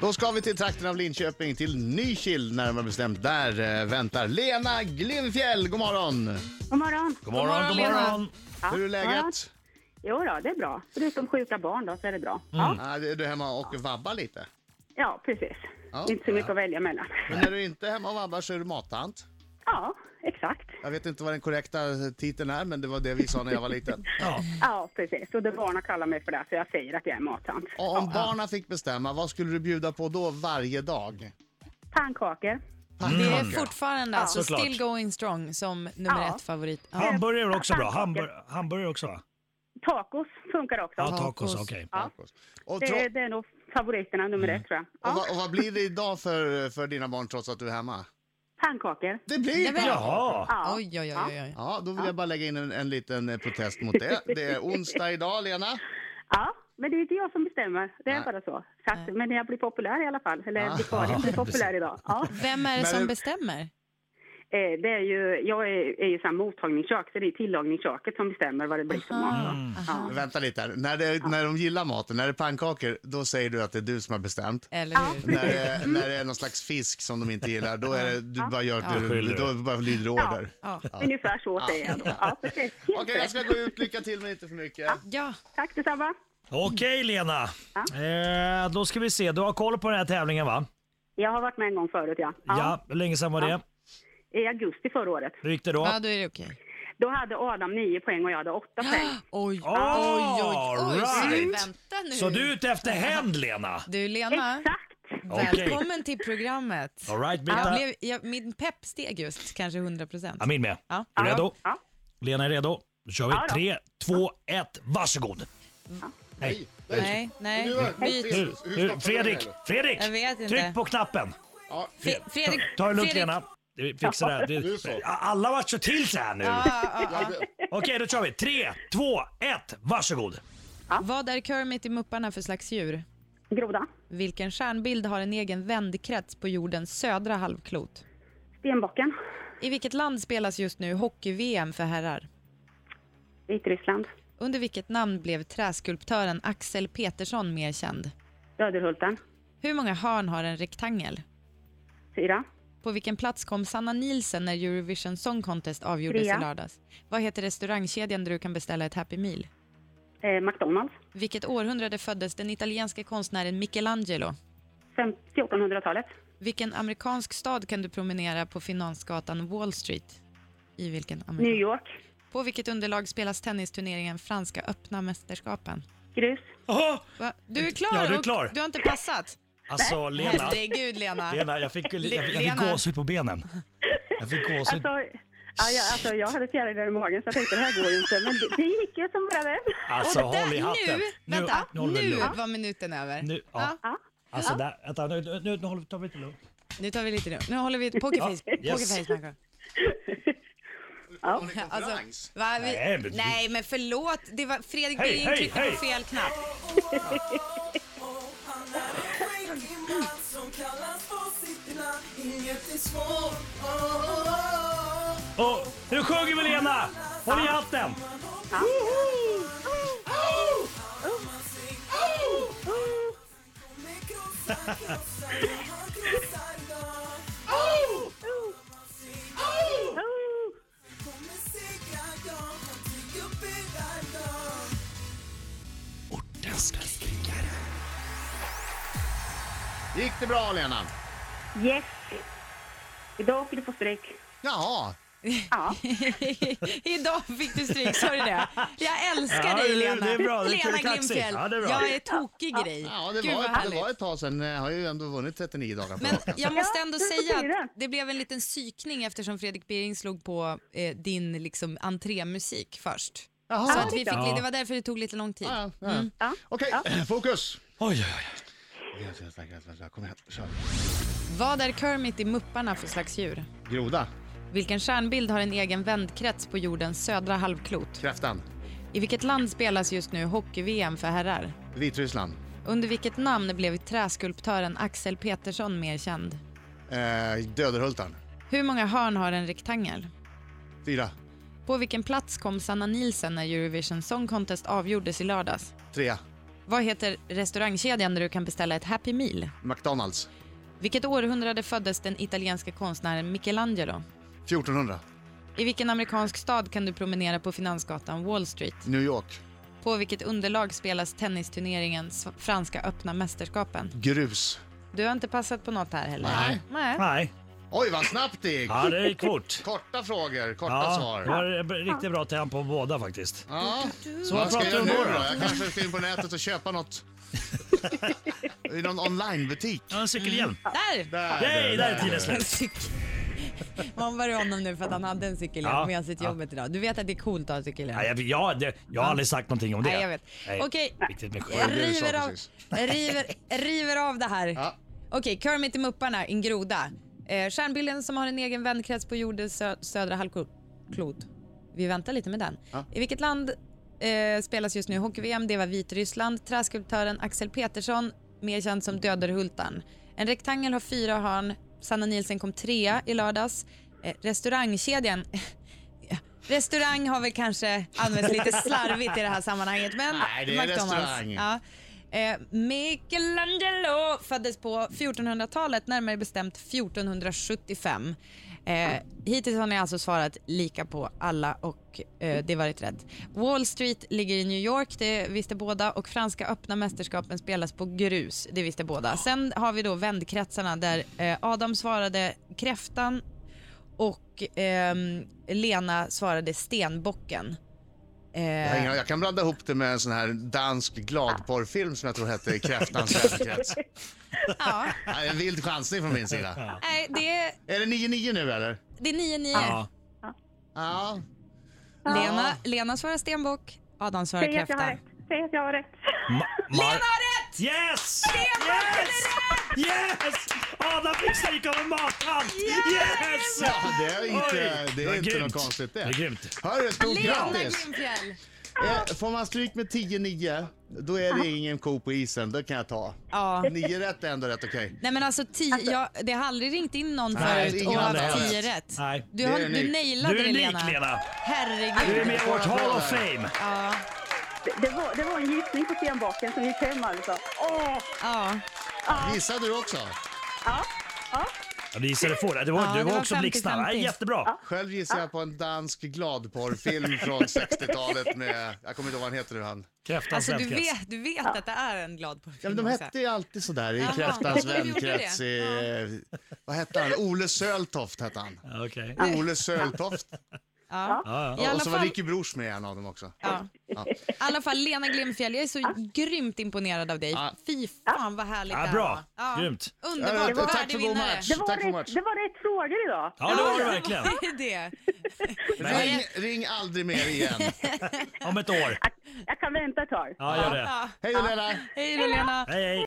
Då ska vi till trakten av Linköping, till Nykil närmare bestämt. Där eh, väntar Lena Glimfjäll. God morgon! God morgon. God morgon, god Lena. morgon. Ja, Hur är ja. läget? Jo då, det är bra. Förutom sjuka barn då, så är det bra. Ja, Ah, är du hemma och vabbar lite? ja precis. Ja. Mm. Inte så mycket att välja mellan. Men när du inte är hemma och vabbar så är du mattant. Ja, exakt. Jag vet inte vad den korrekta eh, titeln är, men det var det vi sa när jag var liten. Ja. Ja, precis. Och det barnen kallar mig för det, så jag säger att jag är mattant. Och om barna fick bestämma, vad skulle du bjuda på då varje dag? Pannkakor. Mm. Det är fortfarande alltså Såklart. still going strong som nummer Ja. ett favorit. Ja. Hamburgare är också bra. Hambur hamburgare också va? Tacos funkar också. Ja, Tacos. tacos. Okej. Ja. Och, Det, är- tro- det är nog favoriterna nummer ett, tror jag. och, Ja, vad, och vad blir det idag för, för dina barn trots att du är hemma? pannkakor. Det blir Nej, men- bra! Jaha. Ja. Oj, oj, oj, Ja. oj. oj. Ja, då vill jag bara lägga in en, en liten eh, protest mot det. Det är onsdag idag, Lena. Ja, men det är inte jag som bestämmer. Det är Nej. bara så. så att, men jag blir populär i alla fall. Eller vikarien blir populär idag. Ja. Vem är det Men- som bestämmer? Eh, det är ju, jag är, är ju så här mottagningskök, så det är tillagningsköket som bestämmer vad det blir för mat. Mm. då. Mm. Ja. Vänta lite här. När, det, när de gillar maten, när det är pannkakor, då säger du att det är du som har bestämt. Eller hur? När det, när det är någon slags fisk som de inte gillar, då är det, du bara gör det du, Skyller då bara lyder du order. Ja. Ungefär så säger jag då. Ja, precis. Helt Okej, jag rätt. ska gå ut. Lycka till, men inte för mycket. ja. Tack detsamma. Okej Lena. Eh, då ska vi se. Du har koll på den här tävlingen va? Jag har varit med en gång förut, ja. Ja. Hur länge sedan var det? I augusti förra året. Hur gick det då? ja, då är det okej. Då hade Adam nio poäng och jag hade åtta poäng. Oj, oj, All oj, oj. right. Vänta nu. Så du är ute efter hämnd Lena? Du Lena, Exakt! Okej. välkommen till programmet. All right, Britta. jag blev, jag, min pepp steg just, kanske 100 procent. Amin med. Ja. Är du redo? Ja. Lena är redo. Då kör vi. Ja då. Tre, två, ett, varsågod. Nej. Nej, nej. Byt. Nu, nu, Fredrik, Fredrik! Jag vet inte. Tryck på knappen. Fre- Fredrik, Ta det lugnt Fredrik. Lena. Vi fixar det här. Nu så. Det- Alla vart så till så här nu. Ja, ja, ja. Okej, då kör vi. Tre, två, ett, varsågod. Vad är Kermit i Mupparna för slags djur? Groda. Vilken stjärnbild har en egen vändkrets på jordens södra halvklot? Stenbocken. I vilket land spelas just nu hockey-VM för herrar? Vitryssland. Under vilket namn blev träskulptören Axel Petersson mer känd? Söderhulten. Hur många hörn har en rektangel? Fyra. På vilken plats kom Sanna Nielsen när Eurovision Song Contest avgjordes Trea. i lördags? Vad heter restaurangkedjan där du kan beställa ett Happy Meal? Eh, McDonalds. Vilket århundrade föddes den italienska konstnären Michelangelo? Fem- 1400-talet. Vilken amerikansk stad kan du promenera på Finansgatan Wall Street? I vilken New amerikansk? York. På vilket underlag spelas tennisturneringen Franska öppna mästerskapen? Grus. Jaha! Va? Du är klar! Ja, du är och klar. Du har inte passat. Alltså Lena, Herregud, Lena. Lena jag fick, jag, jag fick Lena. gåshud på benen. Jag fick gåshud. Alltså, ja, jag, alltså, jag hade fjärilar i magen så jag tänkte det här går ju inte. Men det, det gick ju som bara det. Alltså Och där- håll i hatten. Nu, vänta, håller vi nu lugn. var minuten över. Nu, ja. Ja. Alltså där, vänta, nu, nu, nu håller vi- tar vi lite lugnt. Nu tar vi lite lugnt. Nu håller vi ett pokerface. Ja, yes. pokerface Marco. Konferens. alltså, va, vi, Nej, men- nej, men förlåt. Det var, Fredrik Hej, Bering hej, tryckte hej. på fel knapp. Och, nu sjunger vi Lena! Håll i hatten! Oh! Gick det bra, Lena? Yes! Idag åker du på stryk. Jaha. Ja. Idag fick du stryk, sa du det? Jag älskar Ja, det- dig, Lena. det är bra. Det är Lena kaxigt. Glimfjäll. Ja, det är bra. jag är tokig i dig. Ja, det Gud, vad var, det härligt. var ett tag sedan. Jag har ju ändå vunnit 39 dagar på Men raken. jag måste Ja, ändå du får säga fira. att det blev en liten psykning eftersom Fredrik Bering slog på eh, din liksom, entrémusik först. Jaha. Så att vi fick, Ja. Det var därför det tog lite lång tid. Ja, ja. Mm. ja. Okej, fokus! Oj, oj, oj. Kom igen, kör. Vad är Kermit i Mupparna för slags djur? Groda, Vilken stjärnbild har en egen vändkrets på jordens södra halvklot? kräftan, I vilket land spelas just nu hockey-VM för herrar? Vitryssland, Under vilket namn blev träskulptören Axel Petersson mer känd? eh, Döderhultarn, Hur många hörn har en rektangel? fyra, På vilken plats kom Sanna Nielsen när Eurovision Song Contest avgjordes i lördags? trea, Vad heter restaurangkedjan där du kan beställa ett Happy Meal? McDonalds. Vilket århundrade föddes den italienska konstnären Michelangelo? 1400. I vilken amerikansk stad kan du promenera på Finansgatan Wall Street? New York. På vilket underlag spelas tennisturneringen Sv- Franska öppna mästerskapen? Grus. Du har inte passat på något här heller? Nej. Nej. Nej, Oj, vad snabbt det gick. ja, det gick fort. Korta frågor, korta Ja, det svar. var b- riktigt bra tempo på båda faktiskt. Ja. Så vad Vad ska pratar jag du göra om nu då? då? då? Jag kanske ska in på nätet och köpa något. I någon onlinebutik. Ja, en cykelhjälm. Där! Där, Mm. Nej, där är tiden En slut. cykel. Man var honom nu för att han hade en cykelhjälm Ja, med sig till ja. jobbet idag. Du vet att det är coolt att ha en cykelhjälm? Ja, jag, jag, det, jag har aldrig sagt någonting om det. Nej, jag vet. Nej, Okej. Riktigt med Jag var skit. det du sa river av, precis. jag river, jag river av det här. Ja. Okej, Kermit i Mupparna, en groda. Eh, stjärnbilden som har en egen vänkrets på jordens sö- södra halvklot. Vi väntar lite med den. Ja. I vilket land eh, spelas just nu hockey-VM? Det var Vitryssland. Träskulptören Axel Petersson, mer känd som Döderhultan. En rektangel har fyra hörn. Sanna Nielsen kom trea i lördags. Eh, restaurangkedjan... Restaurang har väl kanske använts lite slarvigt i det här sammanhanget, men Nej, det är McDonald's. restaurang. Äh, Ja. Eh, Michelangelo föddes på 1400-talet, närmare bestämt 1475. Eh, hittills har ni alltså svarat lika på alla och eh, det var ett rätt. Wall Street ligger i New York, det visste båda och franska öppna mästerskapen spelas på grus, det visste båda. Sen har vi då vändkretsarna där eh, Adam svarade kräftan och ehm, Lena svarade stenbocken. Eh, Jag hänger- Jag kan blanda ihop det med en sån här dansk gladporrfilm som jag tror hette Kräftans vänkrets. ja, Ja, En vild chansning från min sida. nej, det, är- Är det 9-9 nu eller? det är 9-9. Ja. Ja. Lena, Lena svarar stenbock, Adam svarar Säg att jag kräfta. har rätt. Säg att jag har rätt. Ma- Lena Mar- har rätt! Yes! Yes! Yes! Adam fick stryk av en mattant! Yes! Ja, det är inte, Oj, det är vad inte grymt. något konstigt det. Det är grymt. Hörru, stort Lena grattis! Grimfjäll! Eh, Får man stryk med 10-9, då är det ingen ko på isen. Det kan jag ta. Ja. 9 rätt är ändå rätt okej. Nej men alltså, tio, jag, det har aldrig ringt in någon förut ingen och hade haft heller. tio rätt. Nej. Du, Det är har, du unikt. nailade Du är det unik Lena. Lena. Du är Herregud. med i vårt Hall of Fame. Ja, Det, det, var, det var en gissning på stenbaken som gick hem alltså. Åh! ja. Gissade du också? Ja, ja. Ja, du gissade få det. Du var, Ja, du det var var också 50-50. blixtsnabb. Nej, Jättebra. Själv gissar jag på en dansk gladporrfilm från 60-talet med, jag kommer inte ihåg vad han heter nu han. Kräftans Alltså du vänkrets. vet, du vet att det är en glad på Ja, men de hette ju alltid sådär i Jaha. Kräftans De gjorde vänkrets. det. I, Vad hette han? Ole Söltoft hette han. Okej. Ole Söltoft. Ja. Ja, ja. I alla Och så var fall, Ricky Brors med i en av dem också. ja. I alla fall Lena Glimfjäll, jag är så grymt imponerad av dig. Ja. Fy fan vad härligt Ja, här bra. var. Ja. Grymt. Ja, Underbart, det var- tack värdig för god vinnare. match. Det var, Tack för rätt, match. det var rätt frågor idag. Ja, det var det verkligen. Det är det. Ring, ring aldrig mer igen. Om ett år. Jag kan vänta ett tag. Ja, gör det. Ja. Hej då Lena! Hej då Lena. Hej, hej.